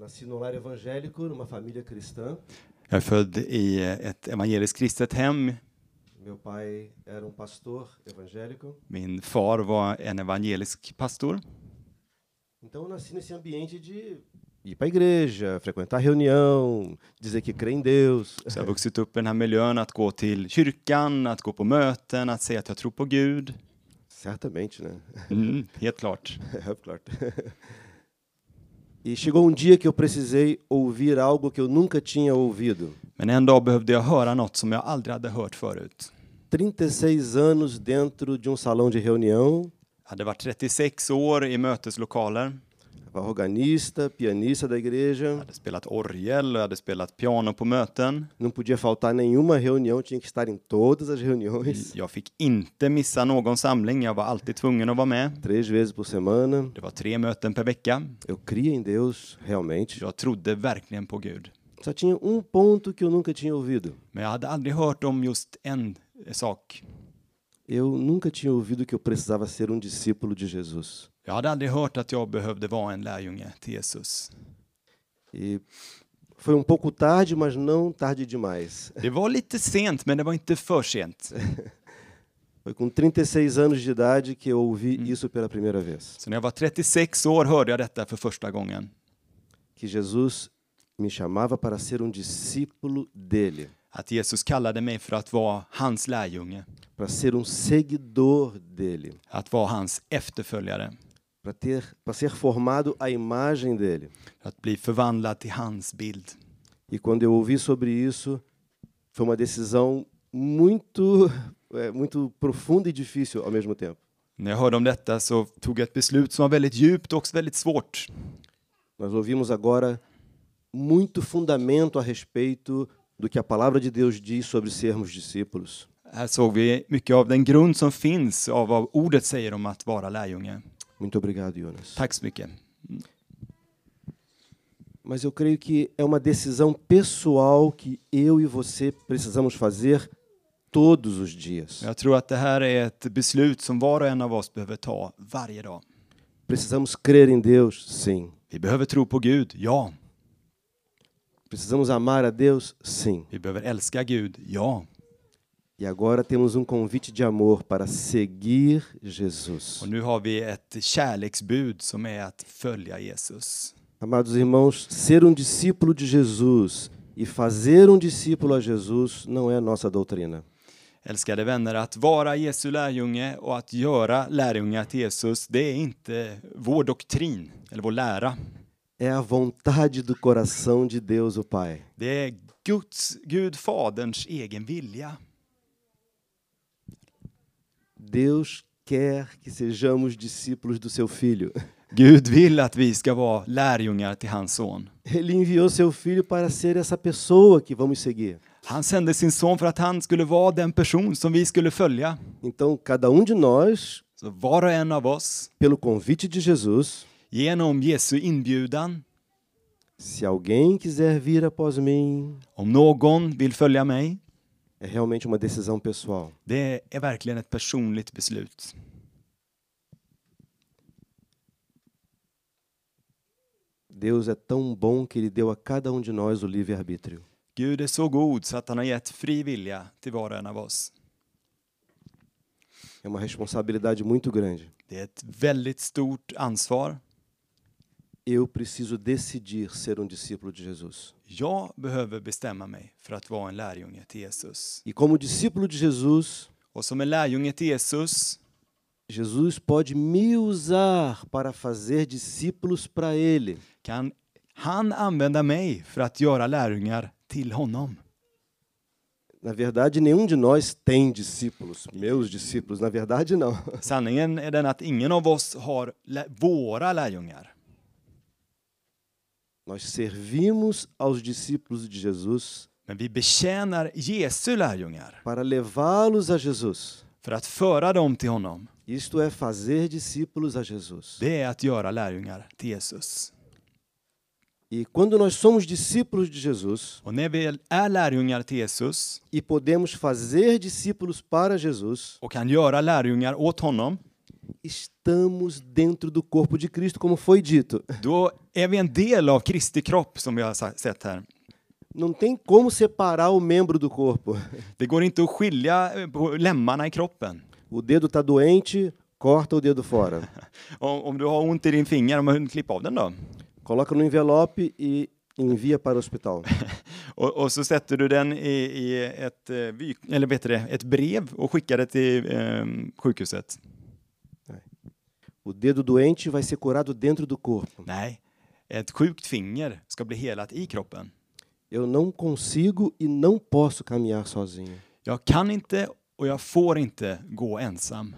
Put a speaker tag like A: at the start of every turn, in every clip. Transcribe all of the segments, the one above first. A: nasci num lar evangélico, numa família cristã.
B: Jag är född i ett evangeliskt kristet hem.
A: Meu pai era um pastor evangélico.
B: Min far var en evangelisk pastor.
A: Então eu nasci nesse ambiente de ir para a igreja, frequentar reunião, dizer que crê em Deus.
B: Så jag har vuxit upp i den här miljön att gå till kyrkan, att gå på möten, att säga att jag tror på Gud.
A: Certamente, né?
B: Mm, helt klart.
A: É claro. E chegou um dia que eu precisei ouvir algo que eu nunca tinha ouvido.
B: Men en dag behövde jag höra något som jag aldrig hade hört förut.
A: 36 anos dentro de um salão de reunião,
B: Jag hade varit 36 år i möteslokaler.
A: Era organista, pianista da
B: Jag
A: igreja,
B: hade spelat orgel och jag hade spelat piano på möten.
A: não podia faltar nenhuma reunião, tinha que estar em todas as reuniões,
B: Jag fick inte missa någon samling, jag var alltid tvungen att vara med.
A: três vezes por semana.
B: Det var tre möten per vecka.
A: Eu cria em Deus, realmente.
B: Jag trodde verkligen på Gud.
A: Só tinha um ponto que eu nunca tinha ouvido.
B: Men jag hade aldrig hört om just en sak.
A: Eu nunca tinha ouvido que eu precisava ser um discípulo de Jesus.
B: Jag hade aldrig hört att jag behövde vara en lärjunge till Jesus.
A: E foi um pouco tarde, mas não tarde demais.
B: Det var lite sent, men det var inte för sent.
A: Foi com 36 anos de idade que eu ouvi isso pela primeira vez.
B: Så när jag var 36 år hörde jag detta för första gången.
A: Que Jesus me chamava para ser um discípulo dele,
B: Att Jesus kallade mig för att vara hans lärjunge,
A: para ser um seguidor dele,
B: att vara hans efterföljare,
A: para ter, para ser formado à imagem dele.
B: att bli förvandlad till hans bild.
A: E quando eu ouvi sobre isso, foi uma decisão muito, é, muito profunda e difícil ao mesmo tempo.
B: När jag hörde om detta så tog jag ett beslut som var väldigt djupt och också väldigt svårt.
A: Nós ouvimos agora muito fundamento a respeito do que a palavra de Deus diz sobre sermos discípulos.
B: Här såg vi mycket av den grund som finns av vad ordet säger om att vara lärjunge.
A: Muito obrigado, Jonas.
B: Tack så mycket.
A: Mas eu creio que é uma decisão pessoal que eu e você precisamos fazer todos os dias.
B: Jag tror att det här är ett beslut som var och en av oss behöver ta varje dag.
A: Precisamos crer em Deus, sim.
B: Vi behöver tro på Gud, ja.
A: Precisamos amar a Deus, sim.
B: Vi behöver älska Gud, ja.
A: E agora temos um convite de amor para seguir Jesus.
B: Och nu har vi ett kärleksbud som är att följa Jesus.
A: Amados irmãos, ser um discípulo de Jesus e fazer um discípulo a Jesus não é a nossa doutrina.
B: Älskade vänner, att vara Jesu lärjunge och att göra lärjungar till Jesus, det är inte vår doktrin eller vår lära.
A: É a vontade do coração de Deus, o Pai.
B: Det är Guds, Gud Faderns egen vilja.
A: Deus quer que sejamos discípulos do seu filho.
B: Gud vill att vi ska vara lärjungar till hans son.
A: Ele enviou seu filho para ser essa pessoa que vamos seguir.
B: Han sände sin son för att han skulle vara den person som vi skulle följa.
A: Então, cada um de nós,
B: Så var och en av oss,
A: pelo convite de Jesus,
B: genom Jesu inbjudan,
A: se alguém quiser vir após mim,
B: om någon vill följa mig,
A: é realmente uma decisão pessoal.
B: det är verkligen ett personligt beslut.
A: Deus é tão bom que ele deu a cada um de nós o livre-arbítrio.
B: Gud är så god så att han har gett fri vilja till var och en av oss.
A: É uma responsabilidade muito grande.
B: Det är ett väldigt stort ansvar.
A: Eu preciso decidir ser um discípulo de Jesus.
B: Jag behöver bestämma mig för att vara en lärjunge till Jesus.
A: E como discípulo de Jesus,
B: Och som en lärjunge till Jesus
A: Jesus pode me usar para fazer discípulos para ele.
B: kan han använda mig för att göra lärjungar till honom.
A: Na verdade, nenhum de nós tem discípulos, meus discípulos, na verdade não.
B: Sanningen är den att ingen av oss har lä- våra lärjungar.
A: Nós servimos aos discípulos de Jesus
B: Men vi betjänar Jesu lärjungar
A: para levá-los a Jesus.
B: för att föra dem till honom.
A: Isto é fazer discípulos a Jesus.
B: Det är att göra lärjungar till Jesus.
A: E quando nós somos discípulos de Jesus
B: Och när vi är lärjungar till Jesus
A: e podemos fazer discípulos para Jesus,
B: och kan göra lärjungar åt honom,
A: estamos dentro do corpo de Cristo, como foi dito.
B: Då är vi en del av Kristi kropp som vi har sa- sett här.
A: Não tem como separar o membro do corpo.
B: Det går inte att skilja eh, på lemmarna i kroppen.
A: O dedo está doente, corta o dedo fora.
B: Om, om du har ont i din finger, om man hunnit klippa av den då?
A: Coloca no envelope e envia para o hospital.
B: Och, och så sätter du den i, i ett, eh, vy, eller vet du det, ett brev och skickar det till eh, sjukhuset.
A: O dedo doente vai ser curado dentro do corpo.
B: Nej, ett sjukt finger ska bli helat i kroppen.
A: Eu não consigo e não posso caminhar sozinho.
B: Jag kan inte och jag får inte gå ensam.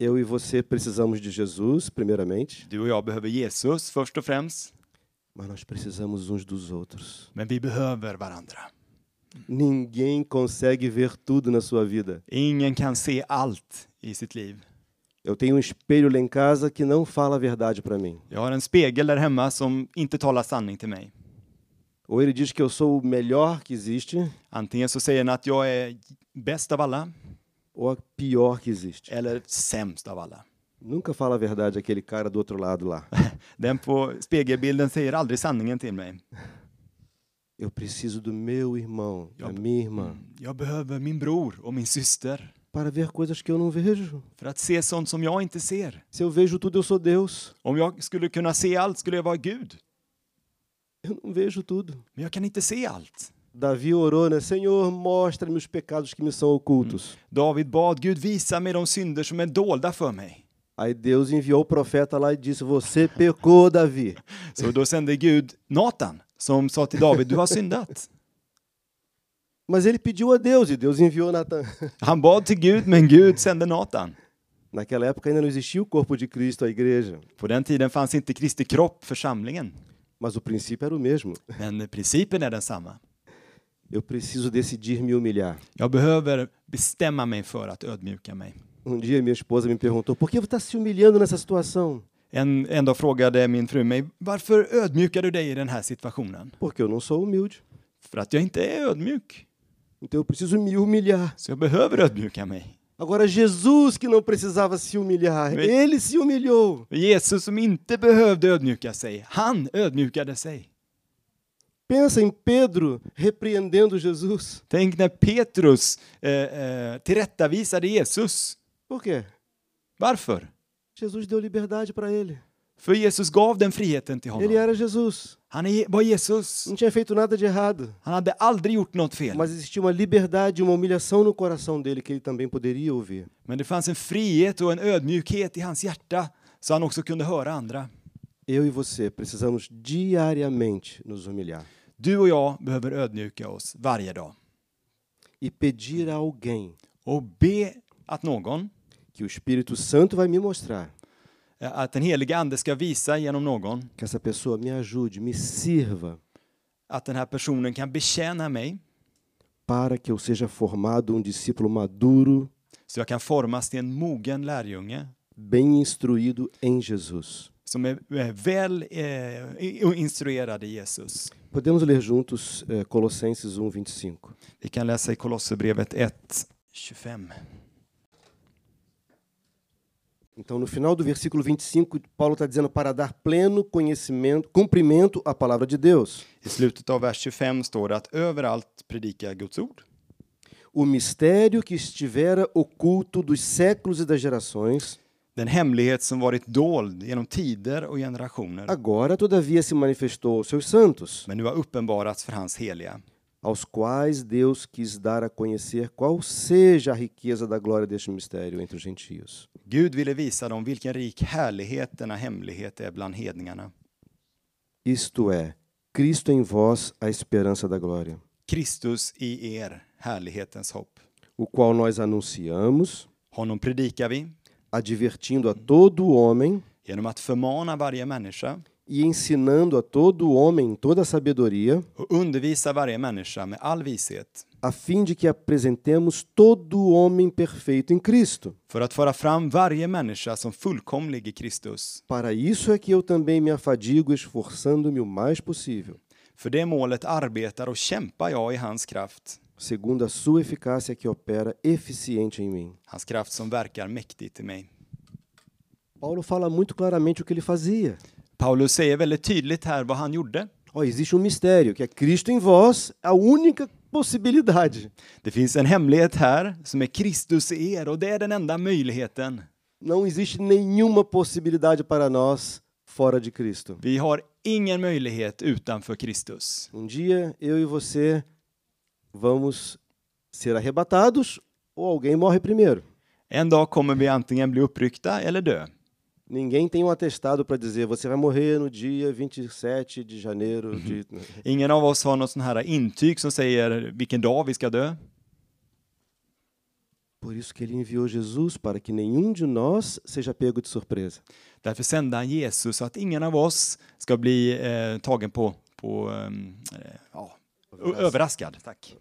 A: Eu e você precisamos de Jesus, primeiramente,
B: Du och jag behöver Jesus först och främst,
A: mas nós precisamos uns dos outros.
B: men vi behöver varandra.
A: Ninguém consegue ver tudo na sua vida.
B: Ingen kan se allt i sitt liv.
A: Eu tenho um espelho lá em casa que não fala a verdade para mim.
B: Jag har en spegel där hemma som inte talar sanning till mig.
A: Ou ele diz que eu sou o melhor que existe,
B: Antingen så säger den att jag är bäst av alla
A: ou a pior que existe. É,
B: eller sämst av alla.
A: Nunca fala a verdade aquele cara do outro lado lá.
B: Den på spegelbilden säger aldrig sanningen till mig.
A: Eu preciso do meu irmão, da minha irmã,
B: Jag behöver min bror och min syster
A: para ver coisas que eu não vejo.
B: för att se sånt som jag inte ser.
A: Se eu vejo tudo, eu sou Deus.
B: Om jag skulle kunna se allt skulle jag vara Gud,
A: Eu não vejo tudo.
B: men jag kan inte se allt.
A: Davi orou, né? Senhor, mostra-me os pecados que me são
B: Hum.
A: ocultos.
B: David bad Gud visa mig de synder som är dolda för mig.
A: Aí Deus enviou o profeta lá e disse: Você pecou, Davi.
B: Så då sände Gud Natan som sa till David, du har syndat.
A: Mas ele pediu a Deus e Deus enviou Natan.
B: Han bad till Gud, men Gud sände Natan.
A: Naquela época ainda não existia o corpo de Cristo, a igreja,
B: På den tiden fanns inte Kristi kropp, församlingen.
A: mas o princípio era o mesmo.
B: Men principen är densamma.
A: Eu preciso decidir me humilhar.
B: Jag behöver bestämma mig för att ödmjuka mig.
A: Um dia minha esposa me perguntou: Por que você está se humilhando nessa situação?
B: En, en dag frågade min fru mig, varför ödmjukar du dig i den här situationen?
A: Porque eu não sou humilde.
B: För att jag inte är ödmjuk.
A: Então eu preciso me humilhar.
B: Så jag behöver ödmjuka mig.
A: Agora, Jesus, que não precisava se humilhar,
B: Mas-
A: ele se humilhou.
B: Jesus som inte behövde ödmjuka sig, han ödmjukade sig.
A: Pensa em Pedro repreendendo Jesus.
B: Tänk när Petrus eh, eh, tillrättavisade Jesus.
A: Por quê?
B: Varför?
A: Jesus deu liberdade para ele.
B: För Jesus gav den friheten till
A: Ele
B: honom.
A: era Jesus.
B: Han är, var Jesus.
A: Não tinha feito nada de errado.
B: Han hade aldrig gjort något fel.
A: Mas existia uma liberdade, uma humilhação no coração dele que ele também poderia ouvir.
B: Men det fanns en frihet och en ödmjukhet i hans hjärta så han också kunde höra andra.
A: Eu e você precisamos diariamente nos humilhar
B: Du och jag behöver ödmjuka oss varje dag
A: e pedir a alguém
B: och be att någon,
A: que o Espírito Santo vai me mostrar
B: eh, att den heliga ande ska visa genom någon
A: que essa pessoa me ajude, me sirva
B: att den här personen kan betjäna mig
A: para que eu seja formado um discípulo maduro,
B: så jag kan formas till en mogen lärjunge
A: bem instruído em Jesus.
B: som är eh, väl eh, i- instruerad i Jesus.
A: Podemos ler juntos eh, Colossenses 1, 25.
B: Vi kan läsa i Kolosserbrevet 1, 25.
A: Então, no final do versículo 25, Paulo está dizendo para dar pleno conhecimento, cumprimento à palavra de Deus.
B: I slutet av vers 25 står det att överallt predika Guds ord.
A: O mistério que estivera oculto dos séculos e das gerações,
B: Den hemlighet som varit dold genom tider och generationer,
A: agora, todavia, se manifestou aos seus santos,
B: men nu har uppenbarats för hans heliga.
A: aos quais Deus quis dar a conhecer qual seja a riqueza da glória deste mistério entre os gentios.
B: Gud ville visa dem vilken rik härlighet denna hemlighet är bland hedningarna.
A: Isto é, Cristo em vós, a esperança da glória,
B: Kristus i er, härlighetens hopp.
A: o qual nós anunciamos,
B: Honom predikar vi
A: advertindo a todo homem
B: genom att förmana varje människa
A: e ensinando a todo homem toda a sabedoria,
B: och undervisa varje människa med all vishet
A: a fim de que apresentemos todo homem perfeito em Cristo.
B: för att föra fram varje människa som fullkomlig i Kristus.
A: Para isso é que eu também me afadigo, esforçando-me o mais possível,
B: För det målet arbetar och kämpar jag i hans kraft,
A: segundo a sua eficácia que opera eficiente em mim.
B: hans kraft som verkar mäktigt i mig.
A: Paulo fala muito claramente o que ele fazia.
B: Paulus säger väldigt tydligt här vad han gjorde.
A: Ó, existe um mistério, que é Cristo em vós, a única possibilidade.
B: Det finns en hemlighet här som är Kristus i er och det är den enda möjligheten.
A: Não existe nenhuma possibilidade para nós fora de Cristo.
B: Vi har ingen möjlighet utanför Kristus.
A: Um dia eu e você vamos ser arrebatados ou alguém morre primeiro.
B: En dag kommer vi antingen bli uppryckta eller dö.
A: Ninguém tem um atestado para dizer você vai morrer no dia 27 de janeiro de
B: Ingen av oss har något sån här intyg som säger vilken dag vi ska dö.
A: Por isso que ele enviou Jesus para que nenhum de nós seja pego de surpresa.
B: Därför sände han Jesus så att ingen av oss ska bli eh, tagen på, på ehm, eh, ja, ö- överraskad. Tack.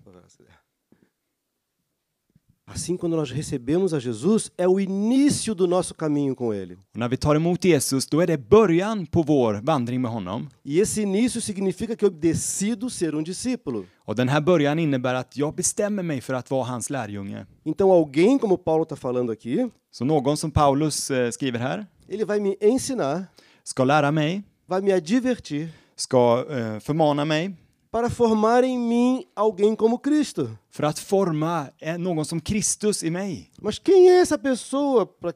A: Assim, quando nós recebemos a Jesus, é o início do nosso caminho com ele.
B: Och när vi tar emot Jesus, då är det början på vår vandring med honom.
A: E esse início significa que eu decido ser um discípulo.
B: Och den här början innebär att jag bestämmer mig för att vara hans lärjunge.
A: Então, alguém, como Paulo está falando aqui,
B: Så någon som Paulus eh, skriver här,
A: ele vai me ensinar,
B: ska lära mig,
A: vai me advertir,
B: ska eh, förmana mig
A: para formar em mim alguém como Cristo.
B: för att forma eh, någon som Kristus i mig.
A: Mas quem é essa pessoa para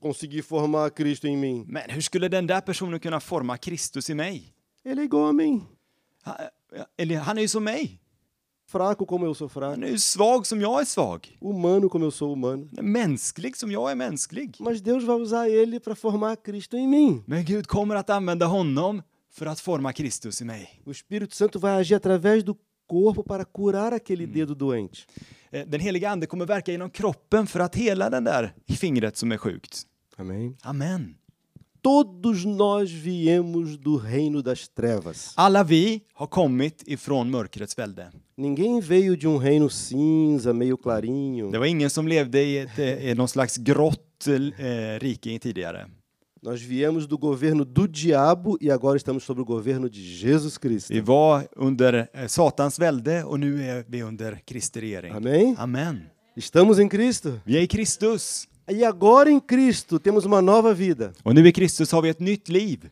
A: conseguir formar Cristo em mim?
B: Men hur skulle den där personen kunna forma Kristus i mig?
A: Ele é igual a mim.
B: Ha- eh, Eller han är ju som mig.
A: Fraco como eu sou fraco,
B: Han är ju svag som jag är svag.
A: humano como eu sou humano.
B: Han är mänsklig som jag är mänsklig.
A: Mas Deus vai usar ele para formar Cristo em mim.
B: Men Gud kommer att använda honom för att forma Kristus i mig.
A: O Espírito Santo vai agir através do corpo para curar aquele dedo doente.
B: Eh, Den heliga ande kommer verka genom kroppen för att hela den där fingret som är sjukt.
A: Amém.
B: Amen.
A: Todos nós viemos do reino das trevas.
B: Alla vi har kommit ifrån mörkrets välde.
A: Ninguém veio de um reino cinza, meio clarinho.
B: Det var ingen som levde i, ett, eh, i någon slags grått eh, rike tidigare.
A: Nós viemos do governo do diabo e agora estamos sob o governo de Jesus Cristo.
B: Vi var under eh, Satans välde och nu är vi under Kristi regering.
A: Amém?
B: Amen.
A: Estamos em Cristo.
B: Vi är i Kristus
A: E agora em Cristo temos uma nova vida.
B: och nu i Kristus har vi ett nytt liv.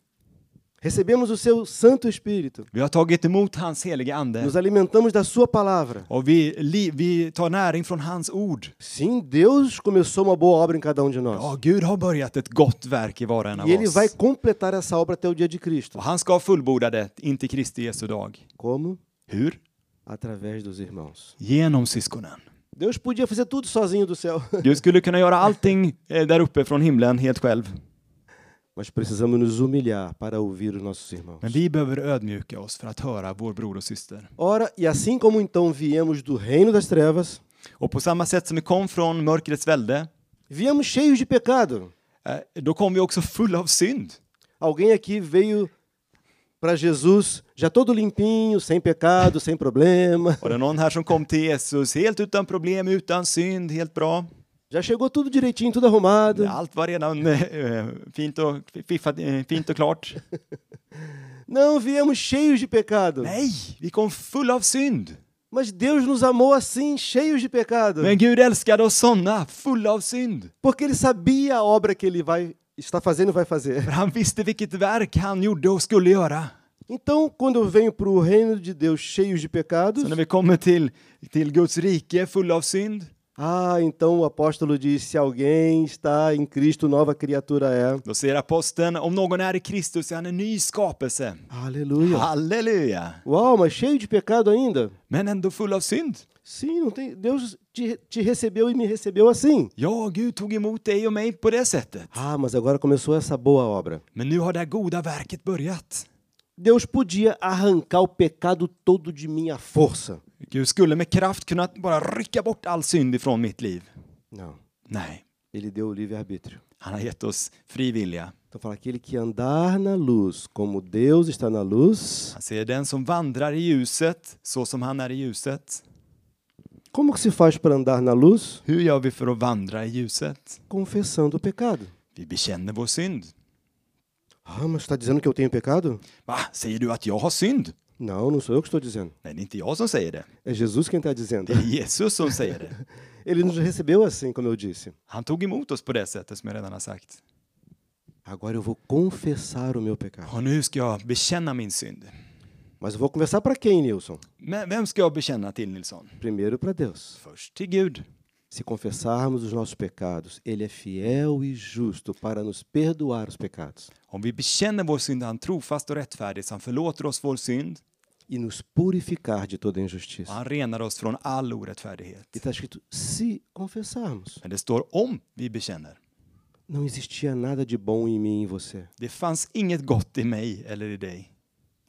A: Recebemos o seu Santo Espírito.
B: Vi har tagit emot hans heliga ande
A: Nos alimentamos da sua palavra.
B: och vi, li, vi tar näring från hans ord.
A: Sim, Deus começou uma boa obra em cada um de
B: Ja,
A: nós.
B: Gud har börjat ett gott verk i var och en av
A: E ele vai
B: oss.
A: completar essa obra até o dia de Cristo.
B: Och han ska fullborda det inte Kristi Jesu dag.
A: Como?
B: Hur?
A: Através dos irmãos.
B: Genom syskonen.
A: Deus podia fazer tudo sozinho do céu,
B: Gud skulle kunna göra allting eh, där uppe från himlen helt själv.
A: mas precisamos nos humilhar para ouvir os nossos irmãos.
B: Men vi behöver ödmjuka oss för att höra vår bror och syster.
A: Ora, e assim como então viemos do reino das trevas,
B: Och på samma sätt som vi kom från mörkrets välde,
A: viemos cheios de pecado.
B: eh, då kom vi också fulla av synd.
A: Alguém aqui veio para Jesus já todo limpinho, sem pecado, sem problema.
B: Var det någon här som kom till Jesus helt utan problem, utan synd, helt bra?
A: Já chegou tudo direitinho, tudo arrumado.
B: Allt var redan eh, eh, fint och, fiffat, eh, fint och klart.
A: Não, viemos cheios de pecado.
B: Nej, vi kom fulla av synd.
A: Mas Deus nos amou assim, cheios de pecado.
B: Men Gud älskade oss sådana, fulla av synd.
A: Porque ele sabia a obra que ele vai está fazendo e vai fazer.
B: För han visste vilket verk han gjorde och skulle göra.
A: Então, quando eu venho para o reino de Deus cheios de pecados,
B: Så när vi kommer till, till Guds rike fulla av synd,
A: ah, então o apóstolo diz: se alguém está em Cristo, nova criatura é.
B: då säger aposteln, om någon är i Kristus är han en ny skapelse.
A: Aleluia.
B: Ah. Halleluja!
A: Uau, mas cheio de pecado ainda?
B: Men ändå full av synd.
A: Sim, não tem. Deus te, te recebeu e me recebeu assim.
B: Ja, Gud tog emot dig och mig på det sättet.
A: Ah, mas agora começou essa boa obra.
B: Men nu har det här goda verket börjat.
A: Deus podia arrancar o pecado todo de minha força.
B: Gud skulle med kraft kunna bara rycka bort all synd ifrån mitt liv.
A: Não.
B: Nej,
A: Ele deu o livre-arbítrio.
B: han har gett oss fri vilja.
A: Então fala, aquele que andar na luz, como Deus está na luz.
B: Han säger den som vandrar i ljuset så som han är i ljuset.
A: Como que se faz para andar na luz?
B: Hur gör vi för att vandra i ljuset?
A: Confessando o pecado.
B: Vi bekänner vår synd.
A: Ah, mas está dizendo que eu tenho pecado?
B: Va? Säger du att jag har synd?
A: Não, não sou eu que estou dizendo.
B: Nej, det är inte jag som säger det.
A: É Jesus quem está
B: Det
A: dizendo.
B: är Jesus som säger det.
A: Ele nos recebeu assim, como eu disse.
B: Han tog emot oss på det sättet som jag redan har sagt.
A: Agora eu vou confessar o meu pecado.
B: Och nu ska jag bekänna min synd.
A: Mas eu vou confessar para quem, Nilson?
B: Men vem ska jag bekänna till Nilsson?
A: Primeiro para Deus.
B: Först till Gud.
A: Se confessarmos os nossos pecados, Ele é fiel e justo para nos perdoar os pecados
B: Om vi bekänner vår synd är han trofast och rättfärdig så han förlåter oss vår synd
A: e nos purificar de toda
B: och
A: injustiça.
B: han renar oss från all
A: E
B: orättfärdighet.
A: está escrito: se confessarmos.
B: Men det står om vi bekänner.
A: Não existia nada de bom em mim e em você.
B: Det fanns inget gott i mig eller i dig.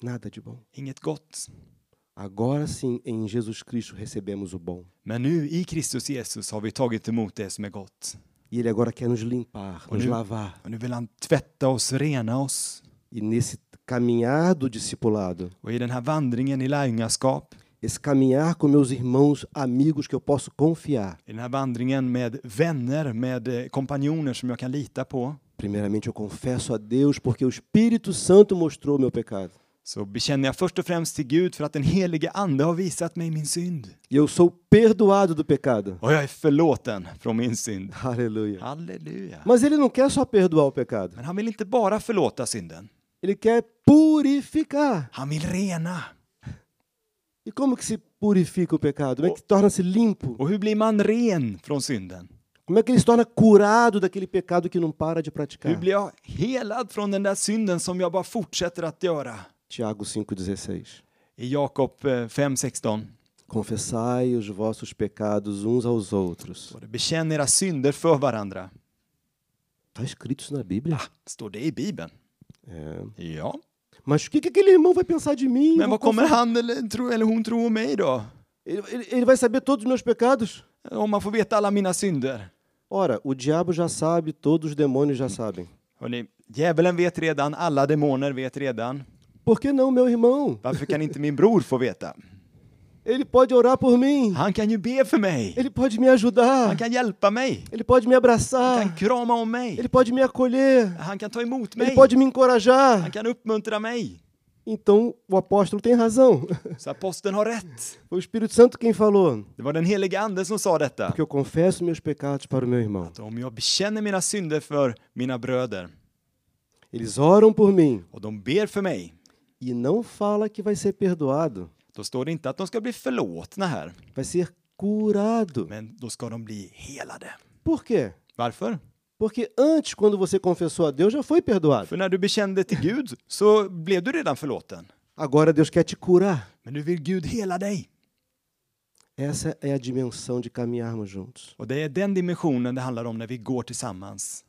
A: Nada de bom.
B: Inget gott.
A: Agora sim, em Jesus Cristo, recebemos o bom.
B: Men nu i Kristus Jesus har vi tagit emot det som är gott.
A: E Ele agora quer nos limpar, nos
B: Olha.
A: lavar.
B: Och nu vill han tvätta oss, rena oss.
A: E nesse caminhar do discipulado,
B: Och i den här vandringen i lärjungaskap,
A: esse caminhar com meus irmãos, amigos que eu posso confiar,
B: i den här vandringen med vänner, med eh, kompanjoner som jag kan lita på,
A: primeiramente eu confesso a Deus porque o Espírito Santo mostrou meu pecado.
B: så bekänner jag först och främst till Gud för att den helige Ande har visat mig min synd.
A: E eu sou perdoado do pecado.
B: Och jag är förlåten från min synd.
A: Aleluia.
B: Halleluja.
A: Mas Ele não quer só perdoar o pecado,
B: Men han vill inte bara förlåta synden,
A: Ele quer purificar.
B: han vill rena.
A: E como que se purifica o pecado? Como é que torna-se limpo?
B: Och hur blir man ren från synden?
A: Como é que ele se torna curado daquele pecado que não para de
B: Hur
A: praticar?
B: blir jag helad från den där synden som jag bara fortsätter att göra?
A: Tiago 5,16.
B: I Jakob eh, 5.16
A: Confessai os vossos pecados uns aos outros.
B: står det bekänn era synder för varandra.
A: Está Tá escrito isso na Bíblia?
B: Står det i Bibeln?
A: É.
B: Ja.
A: Mas o que, que aquele irmão vai pensar de mim? Vou
B: Men vad kommer han eller, tro, eller hon tro om mig då?
A: Ele, ele- ele vai saber todos os meus pecados?
B: Om man får veta alla mina synder?
A: Ora, o diabo já sabe, todos os demônios já sabem.
B: Hörrni, djävulen vet redan, alla demoner vet redan.
A: Por que não, meu irmão?
B: Varför kan inte min bror få veta?
A: Ele pode orar por mim.
B: Han kan ju be för mig.
A: Ele pode me
B: Han
A: ajudar.
B: kan hjälpa mig.
A: Ele pode me
B: Han
A: abraçar.
B: kan krama om mig.
A: Ele pode me acolher.
B: Han kan ta emot
A: Ele
B: mig.
A: pode me
B: Han
A: encorajar.
B: kan uppmuntra mig.
A: Então, o apóstolo tem razão.
B: Så aposteln har rätt.
A: Foi o Espírito Santo quem falou.
B: Det var den heliga anden som sa detta.
A: Porque eu confesso meus pecados para o meu irmão.
B: Att om jag bekänner mina synder för mina bröder
A: Eles oram por mim
B: och de ber för mig,
A: e não fala que vai ser perdoado,
B: då står det inte att de ska bli förlåtna här,
A: vai ser curado.
B: men då ska de bli helade.
A: Por quê?
B: Varför?
A: Porque antes, quando você confessou a Deus, já foi perdoado.
B: För när du bekände till Gud så blev du redan förlåten.
A: Agora Deus quer te curar.
B: Men nu vill Gud hela dig.
A: Essa é a dimensão de caminharmos juntos.
B: Och det är den dimensionen det handlar om när vi går tillsammans.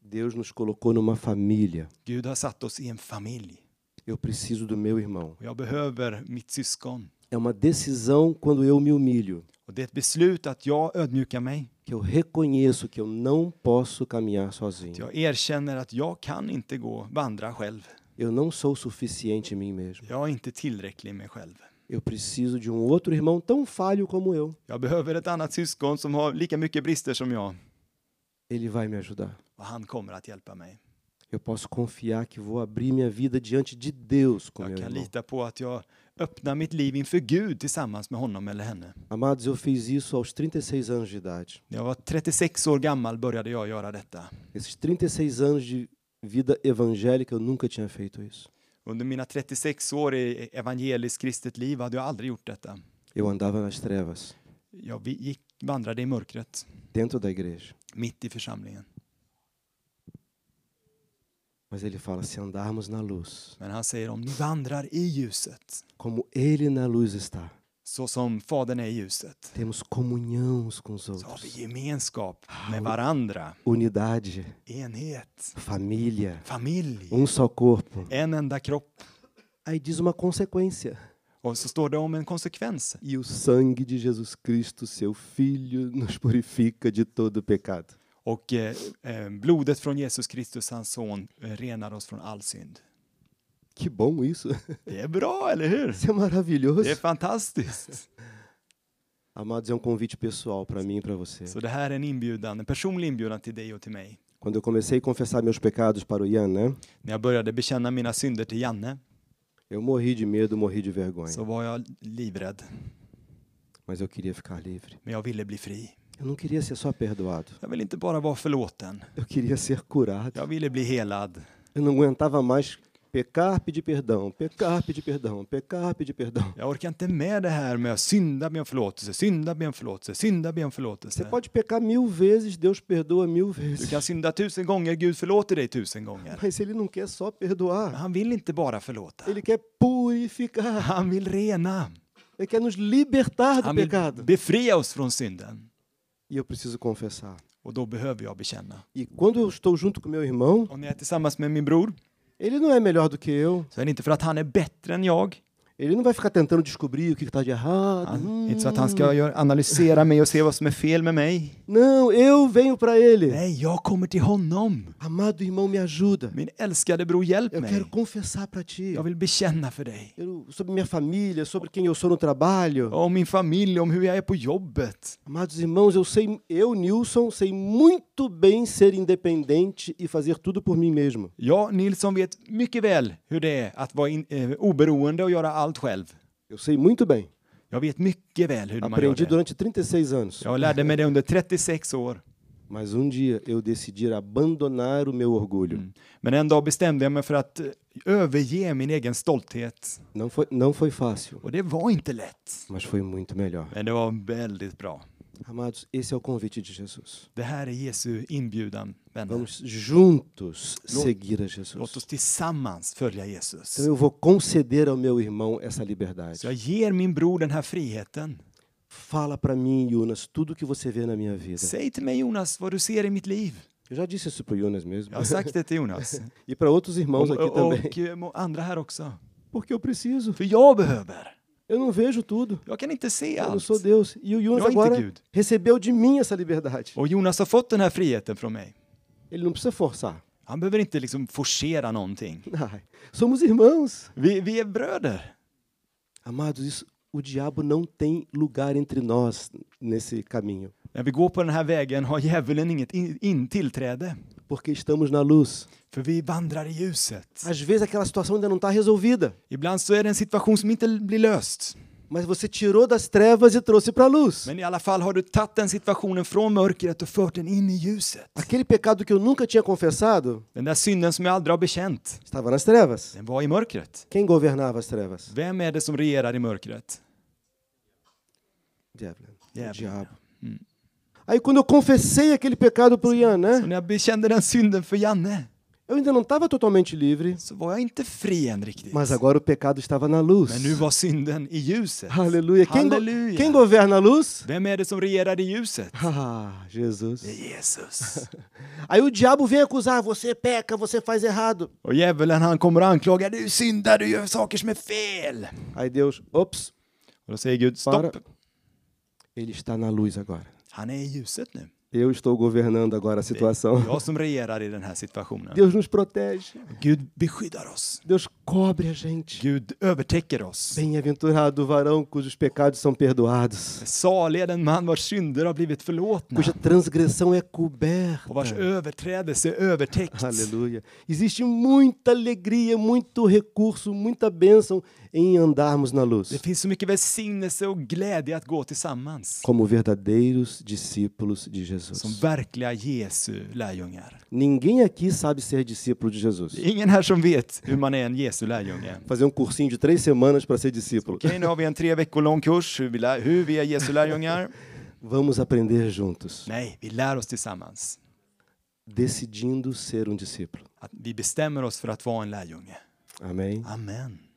A: Deus nos colocou numa família.
B: Gud har satt oss i en familj
A: Eu preciso do meu irmão.
B: och jag behöver mitt syskon.
A: É uma decisão quando eu me humilho,
B: Och det är ett beslut att jag ödmjukar mig.
A: que eu reconheço que eu não posso caminhar
B: Att
A: sozinho.
B: Jag erkänner att jag kan inte gå vandra själv.
A: Eu não sou suficiente em mim mesmo.
B: Jag är inte tillräcklig i mig själv.
A: Eu preciso de um outro irmão tão falho como eu.
B: Jag behöver ett annat syskon som har lika mycket brister som jag.
A: Ele vai me ajudar.
B: Och han kommer att hjälpa mig.
A: Eu posso confiar que vou abrir minha vida diante de Deus com meu
B: Jag kan
A: irmão.
B: lita på att jag öppnar mitt liv inför Gud tillsammans med honom eller henne.
A: Amados, eu fiz isso aos 36 anos de idade.
B: När jag var 36 år gammal började jag göra detta.
A: Esses 36 anos de vida evangélica, eu nunca tinha feito isso.
B: Under mina 36 år i evangeliskt kristet liv hade jag aldrig gjort detta.
A: Eu andava nas trevas,
B: Jag vi- gick, vandrade i mörkret,
A: dentro da igreja.
B: mitt i församlingen.
A: Mas ele fala: se andarmos na luz,
B: Men han säger om ni vandrar i ljuset,
A: como ele na luz está,
B: så som Fadern är i ljuset,
A: temos comunhão uns com os
B: så har vi
A: outros,
B: gemenskap med varandra.
A: unidade,
B: Enhet,
A: família,
B: familj,
A: um só corpo.
B: en enda kropp.
A: Aí diz uma consequência.
B: Och så står det om en konsekvens.
A: E o sangue de Jesus Cristo, seu Filho, nos purifica de todo pecado.
B: Och eh, eh, blodet från Jesus Kristus, hans son, eh, renar oss från all synd.
A: Que bom isso!
B: Det är bra, eller hur?
A: Isso é
B: Det är
A: maravilhoso!
B: fantastiskt.
A: Amados, é um convite pessoal para mim e para você.
B: Så det här är en inbjudan, en personlig inbjudan till dig och till mig.
A: Quando eu comecei a confessar meus pecados para o Ian, né?
B: När jag började bekänna mina synder till Janne
A: Eu morri de medo, morri de vergonha.
B: så var jag livrädd,
A: Mas eu queria ficar livre.
B: men jag ville bli fri.
A: Eu não queria ser só perdoado.
B: Jag vill inte bara vara förlåten.
A: Eu queria ser curado.
B: Jag ville bli helad.
A: Eu não aguentava mais pecar, pedir perdão, pecar, pedir perdão, pecar, pedir perdão.
B: Jag orkar inte med det här med att synda, be om förlåtelse, synda, be om förlåtelse, synda, be om
A: Você
B: förlåtelse.
A: pode pecar mil vezes, Deus perdoa mil
B: Du
A: vezes.
B: kan synda tusen gånger, Gud förlåter dig tusen gånger.
A: Mas Ele não quer só
B: Men
A: perdoar.
B: han vill inte bara förlåta.
A: Ele quer purificar.
B: Han vill rena.
A: Ele quer nos libertar do
B: Han vill
A: pecado.
B: befria oss från synden.
A: E eu preciso confessar.
B: Och då behöver jag bekänna.
A: E quando eu estou junto com meu irmão,
B: Och när jag är tillsammans med min bror
A: ele não é melhor do que eu.
B: så är det inte för att han är bättre än jag.
A: Ele não vai ficar tentando descobrir o que está de errado.
B: Han,
A: Hum,
B: Inte så att han ska gör, analysera mig och se vad som är fel med mig.
A: Não, eu venho para ele.
B: Nej, jag kommer till honom.
A: Amado irmão, me ajuda.
B: Min älskade bror, hjälp
A: Eu
B: mig.
A: quero confessar para ti.
B: Jag vill bekänna för dig.
A: Eu- sobre minha família, sobre quem eu sou no trabalho.
B: Om min familj, om hur jag är på jobbet.
A: Amados irmãos, eu sei, eu, Nilson, sei muito bem ser independente e fazer tudo por mim mesmo.
B: Jag, Nilsson, vet mycket väl hur det är att vara in, eh, oberoende och göra allt själv.
A: Eu sei muito bem.
B: Jag vet mycket väl hur man gör
A: Aprendi
B: det.
A: durante 36 anos.
B: Jag lärde mig det under 36 år.
A: Mas um dia eu decidi abandonar o meu orgulho.
B: Hum. Men en dag bestämde jag mig för att eh, överge min egen stolthet.
A: Não, foi, não foi fácil,
B: Och det var inte lätt.
A: mas foi muito melhor.
B: Men det var väldigt bra.
A: Amados, esse é o convite de Jesus.
B: Det här är Jesu inbjudan, vänner.
A: Vamos juntos
B: Låt-
A: seguir a
B: Låt
A: Jesus.
B: oss tillsammans följa Jesus.
A: Então eu vou conceder ao meu irmão essa
B: Så
A: liberdade.
B: jag ger min bror den här friheten.
A: Fala para mim, Jonas, tudo que você vê na minha vida.
B: Säg till mig Jonas vad du ser i mitt liv.
A: Eu já disse isso pro Jonas mesmo.
B: Jag har sagt det till Jonas.
A: E para outros irmãos
B: Och,
A: aqui
B: och,
A: também.
B: och eh, må- andra här också.
A: Porque eu preciso.
B: För jag behöver.
A: Eu não vejo tudo.
B: Jag kan inte se
A: Eu não
B: allt.
A: sou Deus. E o Jonas
B: Eu
A: agora
B: entendi.
A: recebeu de mim essa liberdade.
B: Och Jonas har fått den här friheten från mig.
A: Ele não precisa forçar.
B: Han behöver inte liksom forcera någonting.
A: Ai, somos irmãos.
B: Vi, vi är bröder.
A: Amados, isso, o diabo não tem lugar entre nós nesse caminho.
B: När vi går på den här vägen har djävulen inget in, in tillträde.
A: Porque estamos na luz.
B: För vi vandrar i ljuset.
A: Às vezes aquela situação ainda não está resolvida.
B: Ibland så är det en situation som inte blir löst.
A: Mas você tirou das trevas e trouxe para a luz.
B: Men i alla fall har du tagit den situationen från mörkret och fört den in i ljuset.
A: Aquele pecado que eu nunca tinha confessado
B: Den där synden som jag aldrig har bekänt,
A: estava nas trevas.
B: den var i mörkret.
A: Quem governava as trevas?
B: Vem är det som regerar i mörkret?
A: Diabo. O
B: Diabo.
A: diabo. Aí quando eu confessei aquele pecado para o Ian,
B: Och
A: né?
B: när jag bekände den synden för Janne
A: Eu ainda não estava totalmente livre,
B: så var jag inte fri än riktigt.
A: mas agora o pecado estava na luz.
B: Men nu var synden i ljuset.
A: Aleluia. Quem, go-
B: Halleluja.
A: quem governa a luz?
B: Vem är det som regerar i ljuset?
A: Ah, Jesus.
B: Det är Jesus.
A: Aí o diabo vem acusar, você peca, você faz errado.
B: Och djävulen han kommer och anklagar, du syndar, du gör saker som är fel.
A: Aí Deus, ops,
B: Och då säger Gud, stopp.
A: Bara- ele está na luz agora.
B: Han är i ljuset nu.
A: Eu estou governando agora a situação.
B: Jag som regerar i den här situationen.
A: Deus nos protege.
B: Gud beskyddar oss.
A: Deus cobre a gente.
B: Gud övertäcker oss.
A: Bem-aventurado o varão cujos pecados são perdoados,
B: Salig är den man vars synder har blivit förlåtna
A: cuja transgressão é
B: och vars
A: coberta.
B: överträdelse är övertäckt.
A: Aleluia. Existe muita alegria, muito recurso, muita bênção em andarmos na
B: Det
A: luz,
B: finns så mycket välsignelse och glädje att gå tillsammans
A: como verdadeiros discípulos de
B: som
A: Jesus.
B: verkliga Jesu lärjungar.
A: Ninguém aqui sabe ser discípulo de Jesus.
B: Det är ingen här som vet hur man är en Jesu lärjunge.
A: Fazer um cursinho de três semanas para ser discípulo.
B: Okej, nu har vi en tre veckor lång kurs hur vi, lär, hur vi är Jesu lärjungar.
A: Vamos aprender juntos,
B: Nej, vi lär oss tillsammans.
A: decidindo ser um discípulo.
B: Att vi bestämmer oss för att vara en lärjunge.
A: Amém?
B: Amen.